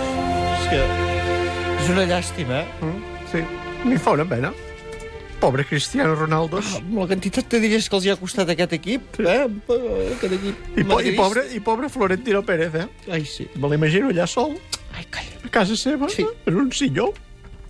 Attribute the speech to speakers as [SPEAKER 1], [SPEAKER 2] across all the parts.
[SPEAKER 1] És que és una llàstima.
[SPEAKER 2] eh? Sí, m'hi fa una pena. Pobre Cristiano Ronaldo.
[SPEAKER 1] Amb la quantitat de diners que els hi ha costat aquest equip, eh? Aquest equip
[SPEAKER 2] I, po i,
[SPEAKER 1] madridista.
[SPEAKER 2] pobre, I pobre Florentino Pérez, eh?
[SPEAKER 1] Ai, sí.
[SPEAKER 2] Me l'imagino allà sol,
[SPEAKER 1] Ai, calla.
[SPEAKER 2] a casa seva,
[SPEAKER 1] Sí.
[SPEAKER 2] en un silló,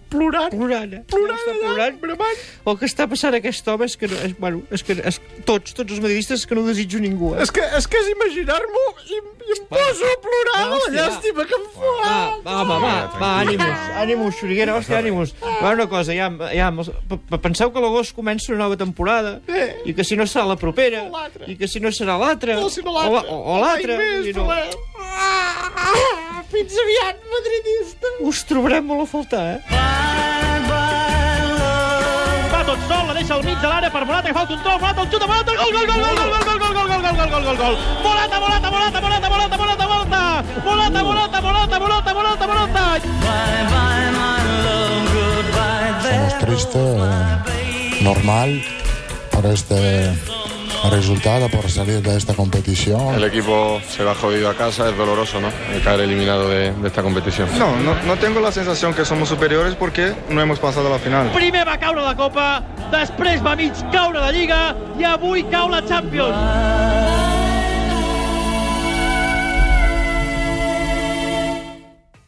[SPEAKER 2] plorant,
[SPEAKER 1] Plorant, eh?
[SPEAKER 2] plorant,
[SPEAKER 1] Està
[SPEAKER 2] allà,
[SPEAKER 1] plorant.
[SPEAKER 2] bramant.
[SPEAKER 1] El que està passant a aquest home és que... No, és, bueno, és que és, tots, tots els madridistes és que no ho desitjo ningú, eh?
[SPEAKER 2] És que, és que és imaginar-m'ho i, i em poso a
[SPEAKER 1] Va,
[SPEAKER 2] plorar de la
[SPEAKER 1] hòstia, va.
[SPEAKER 2] llàstima que em fa.
[SPEAKER 1] Va,
[SPEAKER 2] Ah,
[SPEAKER 1] va, va, va, va, ànimus, ànimus, xuriguera, hòstia, ànimus. Va, una cosa, ja, ja, mos- pe- pe- penseu que l'agost comença una nova temporada
[SPEAKER 2] Eh.
[SPEAKER 1] i que si no serà la propera,
[SPEAKER 2] O l'altra.
[SPEAKER 1] i que si no serà l'altra,
[SPEAKER 2] O si no l'altre.
[SPEAKER 1] o la- o- o l'altra,
[SPEAKER 2] Ai,
[SPEAKER 1] i
[SPEAKER 2] més,
[SPEAKER 1] no.
[SPEAKER 2] Pelé. Ah, fins aviat, madridista.
[SPEAKER 1] Us trobarem molt a faltar, eh?
[SPEAKER 3] Va tot sol, la deixa al mig de l'àrea per Morata, que fa el control, Morata, el xuta, Morata, gol, gol, gol, gol, gol, gol, gol, gol, gol, gol, gol, gol, gol, gol, Morata, Morata, Morata, Morata, Morata, Morata, Morata, Morata, Morata, Morata, Morata, Morata, Morata,
[SPEAKER 4] Estamos tristes, eh, normal, por este resultado, por salir de esta competición.
[SPEAKER 5] El equipo se va jodido a casa, es doloroso, ¿no? El caer eliminado de, de esta competición. No, no, no tengo la sensación que somos superiores porque no hemos pasado a la final.
[SPEAKER 3] Primer va caure la Copa, després va mig caure la Lliga i avui cau la Champions.